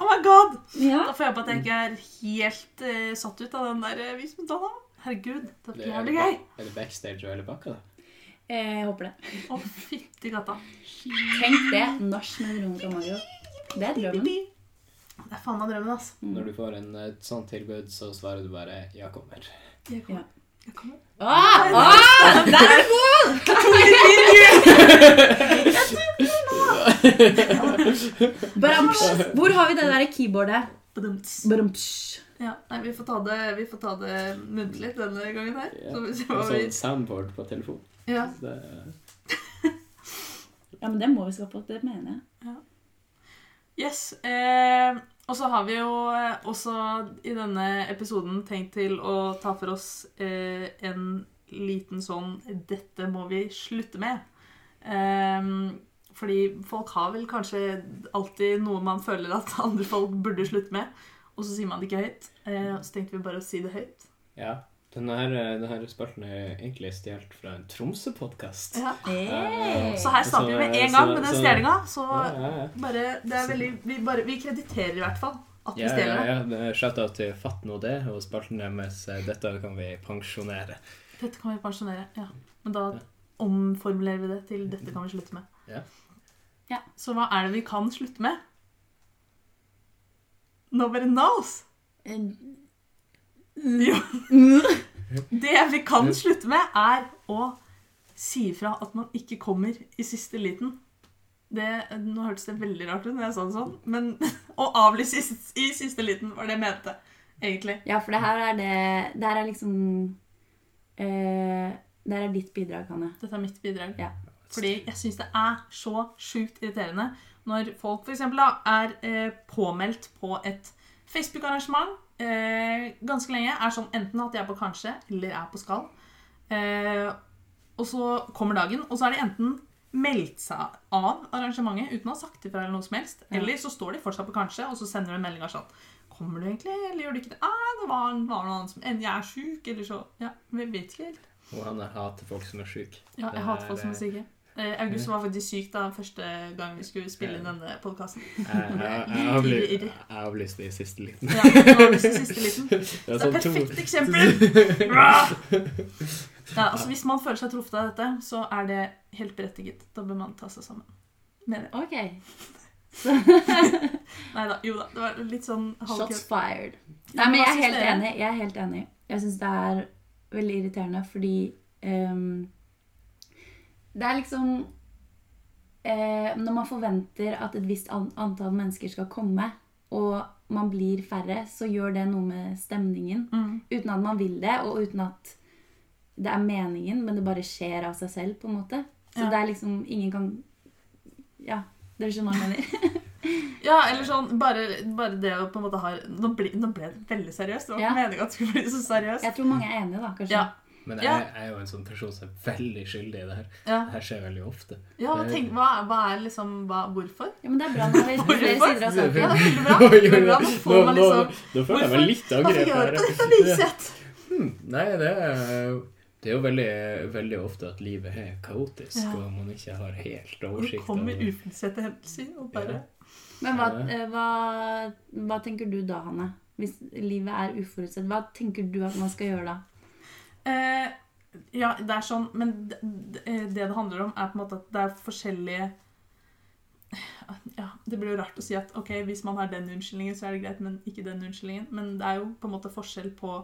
[SPEAKER 1] Oh my god!
[SPEAKER 3] Ja.
[SPEAKER 1] Da får jeg håpe at jeg ikke er helt eh, satt ut av den der eh, visen da, da. Herregud, det
[SPEAKER 2] det
[SPEAKER 1] blir
[SPEAKER 2] er,
[SPEAKER 1] jævlig gøy.
[SPEAKER 2] er det backstage og hele pakka, da?
[SPEAKER 3] Eh, jeg håper det.
[SPEAKER 1] Å, fytti katta.
[SPEAKER 3] Tenk det. Nach med Veronica Mario. Det er drømmen.
[SPEAKER 1] Det er faen meg drømmen, altså.
[SPEAKER 2] Når du får en, et sånt tilbud, så svarer du bare 'ja, kommer'.
[SPEAKER 1] Jeg
[SPEAKER 3] Ja.
[SPEAKER 1] kommer. Jeg kommer.
[SPEAKER 3] Ah, ah, der er du god! Baramsj. Hvor har vi det der keyboardet?
[SPEAKER 1] Badumts.
[SPEAKER 3] Baramsj.
[SPEAKER 1] Ja, nei, vi får ta det, vi får ta det muntlig denne gangen her.
[SPEAKER 2] Ja.
[SPEAKER 1] Så vi ser
[SPEAKER 2] Og
[SPEAKER 1] hva
[SPEAKER 2] sånn
[SPEAKER 1] vi...
[SPEAKER 2] soundboard på telefon.
[SPEAKER 1] Ja.
[SPEAKER 2] Så det er
[SPEAKER 3] Ja, men det må vi skaffe oss. Det mener jeg.
[SPEAKER 1] Yes. Eh, og så har vi jo eh, også i denne episoden tenkt til å ta for oss eh, en liten sånn 'dette må vi slutte med'. Eh, fordi folk har vel kanskje alltid noe man føler at andre folk burde slutte med, og så sier man det ikke høyt. Eh, så tenkte vi bare å si det høyt.
[SPEAKER 2] Ja. Denne, her, denne spalten er egentlig stjålet fra en Tromsø-podkast.
[SPEAKER 1] Ja.
[SPEAKER 3] Hey.
[SPEAKER 1] Så her starter vi med en
[SPEAKER 2] Så-
[SPEAKER 1] gang med den
[SPEAKER 2] så-
[SPEAKER 1] stjelinga. Så
[SPEAKER 2] Ja, ja, ja.
[SPEAKER 1] bare, det er veldig, vi, bare, vi krediterer i hvert fall at vi
[SPEAKER 2] Ja, ja,
[SPEAKER 1] stjeler det.
[SPEAKER 2] ja. det er Shout-out til Fatt nå det, og spalten deres eh, 'Dette kan vi pensjonere'.
[SPEAKER 1] Dette kan vi pensjonere. Ja. Men da
[SPEAKER 2] Ja.
[SPEAKER 1] omformulerer vi det til 'dette kan vi slutte med'.
[SPEAKER 2] Ja.
[SPEAKER 3] Ja.
[SPEAKER 1] Så hva er det vi kan slutte med? Nobody knows! Jo. Det vi kan slutte med, er å si ifra at man ikke kommer i siste liten. Det, nå hørtes det veldig rart ut når jeg sa det sånn, men å avlyse i, sist- i siste liten var det jeg mente, egentlig.
[SPEAKER 3] Ja, for det her er det Det her er liksom eh, Det her er ditt bidrag, Hanne.
[SPEAKER 1] Dette er mitt bidrag.
[SPEAKER 3] Ja.
[SPEAKER 1] Fordi jeg syns det er så sjukt irriterende når folk f.eks. er eh, påmeldt på et Facebook-arrangement eh, ganske lenge. Er sånn enten at de er på kanskje eller er på skal. Eh, og så kommer dagen, og så er de enten meldt seg av arrangementet uten å ha sagt ifra eller noe som helst.
[SPEAKER 3] Ja.
[SPEAKER 1] Eller så står de fortsatt på kanskje, og så sender du en melding av sånn Kommer du egentlig, eller gjør du ikke det? Ah, det var, var noe annet som Jeg er sjuk, eller så Ja, vi vet ikke helt.
[SPEAKER 2] Og han hater folk som er syke.
[SPEAKER 1] Ja,
[SPEAKER 2] Det
[SPEAKER 1] jeg hater folk
[SPEAKER 2] er-
[SPEAKER 1] som er syke. Eh, August var faktisk syk da første gang vi skulle spille inn
[SPEAKER 2] Ja.
[SPEAKER 1] denne podkasten.
[SPEAKER 2] Jeg, jeg, jeg, avly- jeg avlyste i siste liten.
[SPEAKER 1] Ja, det var visst i siste liten. Det
[SPEAKER 2] Det er
[SPEAKER 1] er et
[SPEAKER 2] sånn to
[SPEAKER 1] perfekt eksempel! Rah! Ja, altså Hvis man føler seg truffet av dette, så er det helt berettiget. Da bør man ta seg sammen. Mener jeg.
[SPEAKER 3] OK.
[SPEAKER 1] Nei da. Jo da. Det var litt sånn
[SPEAKER 3] Shots
[SPEAKER 1] halvkødd.
[SPEAKER 3] fired.
[SPEAKER 1] Ja,
[SPEAKER 3] Nei, men
[SPEAKER 1] hva
[SPEAKER 3] jeg er
[SPEAKER 1] syns
[SPEAKER 3] helt
[SPEAKER 1] dere?
[SPEAKER 3] enig. Jeg er helt enig. Jeg syns det er veldig irriterende fordi ehm, Det er liksom eh, Når man forventer at et visst an antall mennesker skal komme, og man blir færre, så gjør det noe med stemningen.
[SPEAKER 1] Mm.
[SPEAKER 3] Uten at man vil det, og uten at det er meningen, men det bare skjer av seg selv, på en måte. Så
[SPEAKER 1] Ja.
[SPEAKER 3] det er liksom Ingen kan Ja, dere skjønner hva jeg mener?
[SPEAKER 1] Ja, eller sånn Bare, bare det å på en måte ha nå, ble- nå ble det veldig seriøst. Det var
[SPEAKER 3] Ja.
[SPEAKER 1] ikke meningen at det skulle bli så seriøst.
[SPEAKER 3] Jeg tror mange er enige, da, kanskje.
[SPEAKER 1] Ja.
[SPEAKER 2] Men
[SPEAKER 1] Ja.
[SPEAKER 2] jeg, jeg er jo en sånn person som er veldig skyldig i det her.
[SPEAKER 1] Ja,
[SPEAKER 2] Det her skjer veldig ofte.
[SPEAKER 1] ja men tenk, hva, hva er liksom hva, Hvorfor?
[SPEAKER 3] Ja, men det er bra når vi
[SPEAKER 1] Hvorfor?
[SPEAKER 3] flere sider av
[SPEAKER 1] Ja,
[SPEAKER 3] saken.
[SPEAKER 1] det er veldig bra.
[SPEAKER 2] Oi, oi, oi.
[SPEAKER 1] Veldig bra. Nå får man
[SPEAKER 2] Nå-
[SPEAKER 1] liksom
[SPEAKER 2] nå- nå føler jeg meg
[SPEAKER 1] Hvorfor-
[SPEAKER 2] litt
[SPEAKER 1] Hvorfor
[SPEAKER 2] angrepet
[SPEAKER 1] gjør du
[SPEAKER 2] her.
[SPEAKER 1] på dette viset?
[SPEAKER 2] Hmm, Nei, det er, det er jo veldig, veldig ofte at livet er kaotisk,
[SPEAKER 1] Ja.
[SPEAKER 2] og man ikke har helt
[SPEAKER 1] Hvor
[SPEAKER 2] oversikt.
[SPEAKER 1] kommer
[SPEAKER 2] over-
[SPEAKER 1] uforutsette hendelser? Og bare
[SPEAKER 3] Men hva, eh, hva, hva tenker du da, Hanne? Hvis livet er uforutsett, hva tenker du at man skal gjøre da?
[SPEAKER 1] eh, Ja, det er sånn Men d- d- eh, det det handler om, er på en måte at det er forskjellige ja, Det blir jo rart å si at ok, hvis man har den unnskyldningen, så er det greit, men ikke den unnskyldningen. Men det er jo på en måte forskjell på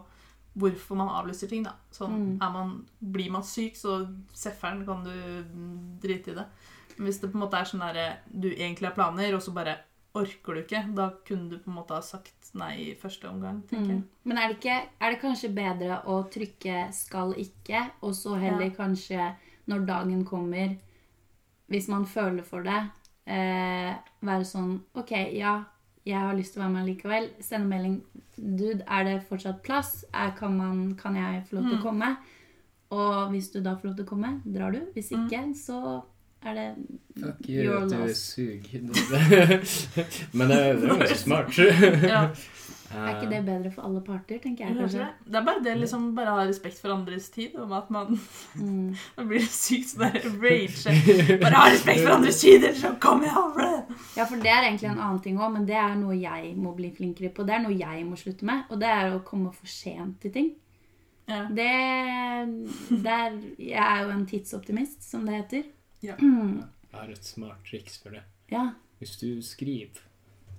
[SPEAKER 1] hvorfor man avlyser ting, da. Sånn,
[SPEAKER 3] Mm.
[SPEAKER 1] er man, blir man syk, så sefferen kan du mm, drite i det. Men hvis det på en måte er sånn derre du egentlig har planer, og så bare orker du ikke, da kunne du på en måte ha sagt nei i første omgang, tenker jeg.
[SPEAKER 3] Mm. Men er det, ikke, er det kanskje bedre å trykke 'skal ikke', og så heller
[SPEAKER 1] Ja.
[SPEAKER 3] kanskje når dagen kommer, hvis man føler for det, eh, være sånn 'OK, ja, jeg har lyst til å være med likevel'. Sende melding 'Dude, er det fortsatt plass? Er, kan, man, kan jeg få lov
[SPEAKER 1] Mm.
[SPEAKER 3] til å komme?' Og hvis du da får lov til å komme, drar du. Hvis
[SPEAKER 1] Mm.
[SPEAKER 3] ikke, så er det
[SPEAKER 2] Fuck you,
[SPEAKER 3] your
[SPEAKER 2] at du
[SPEAKER 3] loss.
[SPEAKER 2] suger. Men det, det er jo ganske smart.
[SPEAKER 1] Ja.
[SPEAKER 3] Er ikke det bedre for alle parter, tenker jeg
[SPEAKER 1] Jeg tror
[SPEAKER 3] kanskje?
[SPEAKER 1] det. Det er bare det liksom bare å ha respekt for andres tid, om at man
[SPEAKER 3] Mm.
[SPEAKER 1] da blir det sykt sånn der rage. Bare ha respekt for andres tid, ellers så kommer jeg over det!
[SPEAKER 3] Ja, for det er egentlig en annen ting òg, men det er noe jeg må bli flinkere på. Det er noe jeg må slutte med, og det er å komme for sent til ting.
[SPEAKER 1] Ja.
[SPEAKER 3] Det der, Jeg er jo en tidsoptimist, som det heter.
[SPEAKER 1] Ja.
[SPEAKER 3] Mm,
[SPEAKER 2] Jeg har et smart triks for det.
[SPEAKER 3] ja.
[SPEAKER 2] Hvis du skriver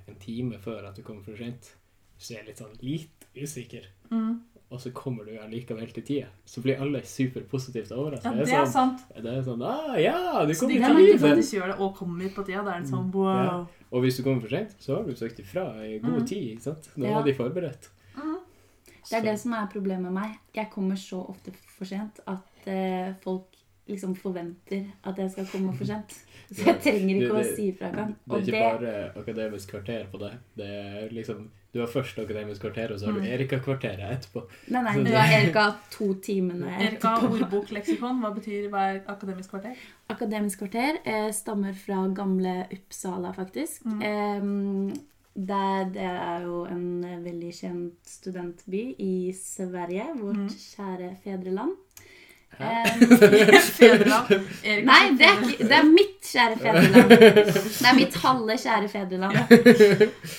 [SPEAKER 2] en time før at du kommer for sent, så er jeg litt sånn litt usikker,
[SPEAKER 1] Mm.
[SPEAKER 2] og så kommer du allikevel til tida, så blir alle superpositivt
[SPEAKER 1] ja,
[SPEAKER 2] overraska.
[SPEAKER 1] det er sant.
[SPEAKER 2] det er sånn Ah, ja, du
[SPEAKER 1] Så de
[SPEAKER 2] kommer
[SPEAKER 1] kan
[SPEAKER 2] til
[SPEAKER 1] ikke sånn
[SPEAKER 2] tida!
[SPEAKER 1] faktisk gjøre det og komme hit på tida. Da er det sånn wow.
[SPEAKER 2] Og hvis du kommer for sent, så har du søkt ifra i god
[SPEAKER 1] Mm.
[SPEAKER 2] tid. ikke sant? Da
[SPEAKER 3] Ja.
[SPEAKER 2] var de forberedt.
[SPEAKER 1] Mm.
[SPEAKER 3] Det er det
[SPEAKER 2] Så-
[SPEAKER 3] som er problemet med meg. Jeg kommer så ofte for sent at eh, folk liksom forventer at jeg skal komme for sent. Så jeg trenger ikke
[SPEAKER 2] Det- det-
[SPEAKER 3] å si ifra engang.
[SPEAKER 2] det er
[SPEAKER 3] Og
[SPEAKER 2] ikke
[SPEAKER 3] det
[SPEAKER 2] bare akademisk kvarter på det. Det er liksom, Du har først akademisk kvarter, og så har du
[SPEAKER 1] Mm.
[SPEAKER 2] Erika-kvarteret etterpå.
[SPEAKER 3] Nei, nei, du
[SPEAKER 2] Så det-
[SPEAKER 3] har Erika to timene
[SPEAKER 1] Erika, ordbok, leksikon. Hva betyr hver akademisk kvarter?
[SPEAKER 3] Mm. Akademisk kvarter eh, stammer fra gamle Uppsala, faktisk. Eh, Det, det er jo en eh, veldig kjent studentby i Sverige, vårt kjære fedreland. Em,
[SPEAKER 1] Fedreland. Erik,
[SPEAKER 3] nei, det er, ikke, det er mitt kjære fedreland. Det er mitt halve kjære fedreland.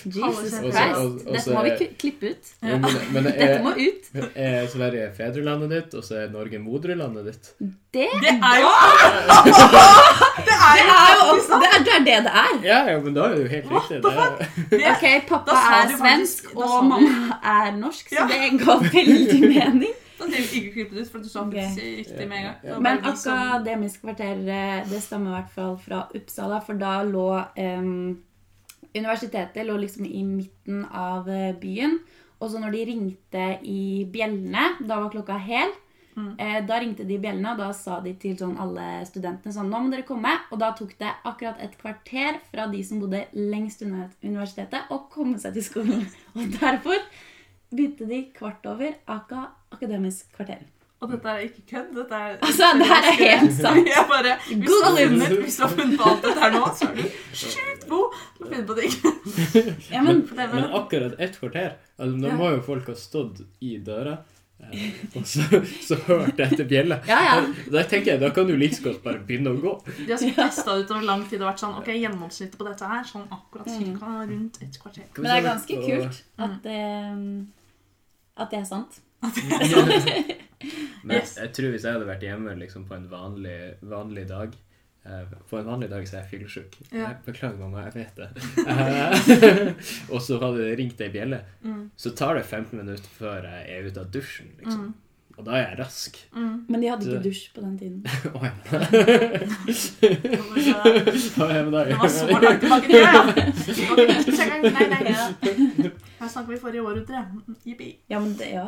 [SPEAKER 3] Jesus
[SPEAKER 1] Halve kjære
[SPEAKER 3] Christ.
[SPEAKER 2] fedreland.
[SPEAKER 3] Dette må vi ku- klippe ut.
[SPEAKER 2] Jo, men, men
[SPEAKER 3] Dette
[SPEAKER 2] er,
[SPEAKER 3] må ut.
[SPEAKER 2] er Sverige fedrelandet ditt, og så er Norge moderlandet ditt?
[SPEAKER 3] Det
[SPEAKER 1] Det er jo Det
[SPEAKER 3] Det
[SPEAKER 1] er jo
[SPEAKER 3] er jo også det er det er det, det er.
[SPEAKER 2] Ja, ja, men da er det jo helt riktig. Det er,
[SPEAKER 1] det.
[SPEAKER 3] Ok, Pappa
[SPEAKER 1] Da sa
[SPEAKER 3] er
[SPEAKER 1] du faktisk-
[SPEAKER 3] svensk,
[SPEAKER 1] da sa
[SPEAKER 3] og
[SPEAKER 1] du-
[SPEAKER 3] mamma er norsk, så
[SPEAKER 1] Ja.
[SPEAKER 3] det ga veldig mening.
[SPEAKER 1] Da trenger vi sånn ikke klippe det ut, for du sa faktisk riktig med en gang. Det liksom- var
[SPEAKER 3] Men
[SPEAKER 1] bare de som-
[SPEAKER 3] Akademisk kvarter eh, det stammer i hvert fall fra Uppsala, for da lå em, Universitetet lå liksom i midten av eh, byen. Og så når de ringte i bjellene, da var klokka hel, eh, da ringte de i bjellene, og da sa de til sånn alle studentene sånn Nå må dere komme. Og da tok det akkurat et kvarter fra de som bodde lengst unna universitetet, å komme seg til skolen. Og derfor begynte de kvart over aka Akademisk kvarter.
[SPEAKER 1] Og dette er ikke kødd. Dette er
[SPEAKER 3] Altså, det her er helt sant.
[SPEAKER 1] Jeg bare, hvis, du har
[SPEAKER 3] Google
[SPEAKER 2] it.
[SPEAKER 1] funnet, hvis du har funnet på alt dette her nå, så er du sjukt god til å finne på ting.
[SPEAKER 3] Ja, men
[SPEAKER 1] Det er
[SPEAKER 2] men
[SPEAKER 1] bare-
[SPEAKER 2] akkurat ett kvarter altså, Da
[SPEAKER 1] Ja.
[SPEAKER 2] må jo folk ha stått i døra eh, og så, så hørt etter bjella.
[SPEAKER 3] Ja, ja.
[SPEAKER 2] Da tenker jeg, da kan du like så godt bare begynne å gå.
[SPEAKER 1] De har sikkert testa ut over lang tid og vært sånn Ok, gjennomsnittet på dette her sånn akkurat
[SPEAKER 3] Mm.
[SPEAKER 1] cirka rundt et kvarter.
[SPEAKER 3] Men det er ganske kult
[SPEAKER 1] Mm.
[SPEAKER 3] at, eh, at det er sant.
[SPEAKER 2] Men
[SPEAKER 1] Yes.
[SPEAKER 2] jeg tror hvis jeg hadde vært hjemme liksom, på en vanlig, vanlig dag eh, På en vanlig dag så er jeg fyllesyk.
[SPEAKER 1] Ja.
[SPEAKER 2] Jeg Beklager, mamma, jeg vet det. Eh, og så hadde det ringt ei bjelle. Så tar det 15 minutter før jeg er ute av dusjen. Liksom. Og da er jeg rask.
[SPEAKER 3] Men de hadde ikke dusj på den tiden.
[SPEAKER 2] Å, ja.
[SPEAKER 1] Det
[SPEAKER 2] Å, ja, men da-
[SPEAKER 1] var så langt tilbake det, ja. Ok, ikke engang. Nei, nei, nei. Her snakker vi forrige århundre. Jippi.
[SPEAKER 3] Ja, men det, ja,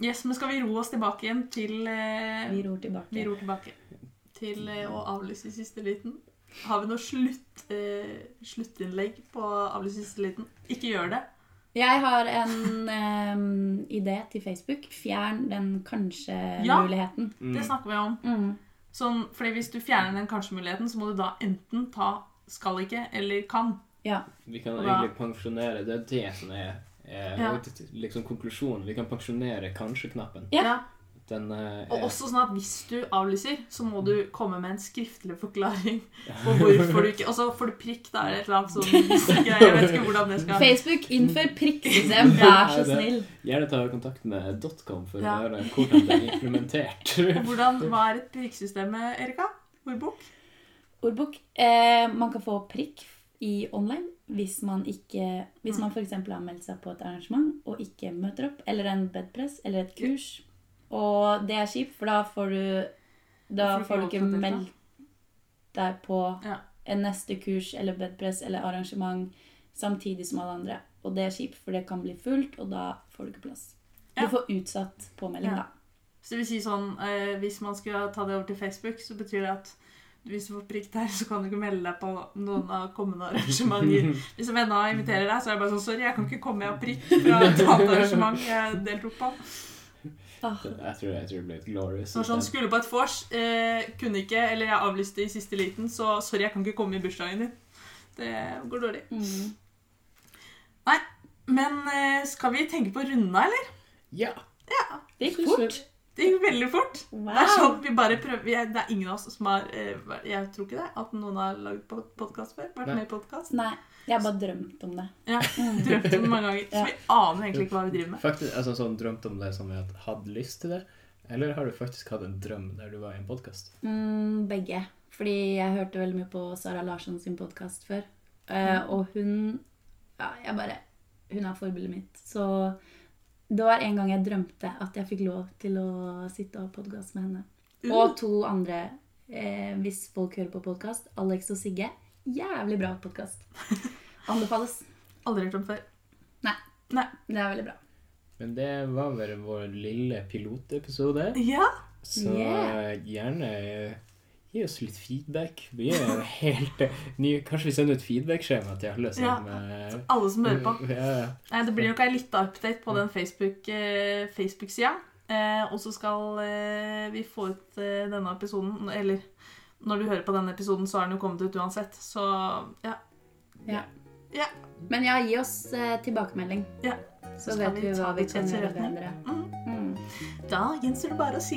[SPEAKER 1] Yes, men skal vi ro oss tilbake igjen til eh,
[SPEAKER 3] vi ror tilbake.
[SPEAKER 1] Vi ror tilbake til eh, å avlyse i siste liten. Har vi noe slutt, eh, sluttinnlegg på å avlyse i siste liten? Ikke gjør det.
[SPEAKER 3] Jeg har en eh, idé til Facebook. Fjern den
[SPEAKER 1] Ja.
[SPEAKER 3] kanskje-muligheten.
[SPEAKER 1] Det snakker vi om.
[SPEAKER 3] Mm.
[SPEAKER 1] Sånn, fordi hvis du fjerner den kanskje-muligheten, så må du da enten ta skal ikke eller kan.
[SPEAKER 3] Ja.
[SPEAKER 2] Vi kan
[SPEAKER 1] Og da-
[SPEAKER 2] egentlig pensjonere Det er det som er, er
[SPEAKER 1] Ja.
[SPEAKER 2] liksom konklusjonen. Vi kan pensjonere kanskje-knappen.
[SPEAKER 3] Ja.
[SPEAKER 2] Den eh, er
[SPEAKER 1] Og også sånn at hvis du avlyser, så må du komme med en skriftlig forklaring på hvorfor du ikke Og så får du prikk, da er det et eller annet sånn greier. Jeg vet ikke hvordan det skal
[SPEAKER 3] Facebook, innfør prikksystem, vær så
[SPEAKER 2] Ja, det-
[SPEAKER 3] snill.
[SPEAKER 2] Gjerne ta kontakt med .com for
[SPEAKER 1] Ja.
[SPEAKER 2] å høre hvordan det er implementert.
[SPEAKER 1] hvordan, Hva er et prikksystem, Erika? Ordbok?
[SPEAKER 3] Ordbok. Eh, man kan få prikk i online hvis man ikke Hvis man f.eks. har meldt seg på et arrangement og ikke møter opp, eller en bedpress eller et kurs. Og det er kjipt, for da får du Da
[SPEAKER 1] Da
[SPEAKER 3] får du ikke
[SPEAKER 1] lov til å delta.
[SPEAKER 3] meldt deg på
[SPEAKER 1] Ja.
[SPEAKER 3] en neste kurs eller bedpress eller arrangement samtidig som alle andre. Og det er kjipt, for det kan bli fullt, og da får du ikke plass. Du
[SPEAKER 1] Ja.
[SPEAKER 3] får utsatt påmelding,
[SPEAKER 1] Ja.
[SPEAKER 3] da.
[SPEAKER 1] Så det vil si sånn, eh, Hvis man skal ta det over til Facebook, så betyr det at hvis du får prikk der, så kan du ikke melde deg på noen av kommende arrangementer. Hvis en venn av inviterer deg, så er det bare sånn Sorry, jeg kan ikke komme, jeg har prikk fra et annet arrangement jeg deltok på.
[SPEAKER 3] Ah,
[SPEAKER 2] Jeg tror, jeg tror det blir et glorious
[SPEAKER 1] Så sånn,
[SPEAKER 2] system.
[SPEAKER 1] Skulle på et vors, eh, kunne ikke, eller jeg avlyste i siste liten, så sorry, jeg kan ikke komme i bursdagen din. Det går dårlig.
[SPEAKER 3] mm.
[SPEAKER 1] Men eh, skal vi tenke på runda, eller?
[SPEAKER 2] Ja!
[SPEAKER 3] Det gikk fort.
[SPEAKER 1] Det gikk veldig fort. Det er sånn,
[SPEAKER 3] Wow.
[SPEAKER 1] vi bare prøver, vi er, det er ingen av oss som har eh, vært- Jeg tror ikke det, at noen har lagd podkast før. Vært
[SPEAKER 2] Nei.
[SPEAKER 1] med i podkast.
[SPEAKER 3] Nei, jeg har bare drømt om det.
[SPEAKER 1] Ja, drømt om det mange ganger.
[SPEAKER 3] Ja.
[SPEAKER 1] Så vi aner egentlig ikke hva vi driver med.
[SPEAKER 2] Faktisk, altså sånn drømt om det som jeg hadde hatt lyst til det. Eller har du faktisk hatt en drøm der du var i en podkast?
[SPEAKER 3] Mm, begge. Fordi jeg hørte veldig mye på Sara Larsson sin podkast før. Eh, og hun Ja, jeg bare Hun er forbildet mitt. Så det var en gang jeg drømte at jeg fikk lov til å sitte og ha podkast med henne. Og to andre, eh, hvis folk hører på podkast. Alex og Sigge. Jævlig bra podkast. Anbefales.
[SPEAKER 1] Aldri hørt om før.
[SPEAKER 3] Nei.
[SPEAKER 1] Nei.
[SPEAKER 3] Det er veldig bra.
[SPEAKER 2] Men det var vel vår lille pilotepisode.
[SPEAKER 1] Ja,
[SPEAKER 2] Så
[SPEAKER 3] Yeah.
[SPEAKER 2] eh, gjerne eh, gi oss litt feedback. Vi er jo helt eh, nye. Kanskje vi sender ut feedback-skjema til alle som
[SPEAKER 1] Ja.
[SPEAKER 2] eh,
[SPEAKER 1] alle som hører på.
[SPEAKER 2] ja, ja.
[SPEAKER 1] Nei, det blir nok ei lita update på den Facebook-sida. Eh, Facebook-sida. eh, og så skal eh, vi få ut eh, denne episoden Eller når du hører på denne episoden, så har den jo kommet ut uansett. Så ja.
[SPEAKER 3] Ja.
[SPEAKER 1] Ja.
[SPEAKER 3] Men ja, gi oss eh, tilbakemelding.
[SPEAKER 1] Ja.
[SPEAKER 3] Så, vet
[SPEAKER 1] skal vi
[SPEAKER 3] vi
[SPEAKER 1] ta
[SPEAKER 3] hva vi
[SPEAKER 1] det til
[SPEAKER 3] kan gjøre
[SPEAKER 1] etterretning.
[SPEAKER 3] bedre.
[SPEAKER 1] Mm.
[SPEAKER 3] Mm.
[SPEAKER 1] Da gjenstår det bare å si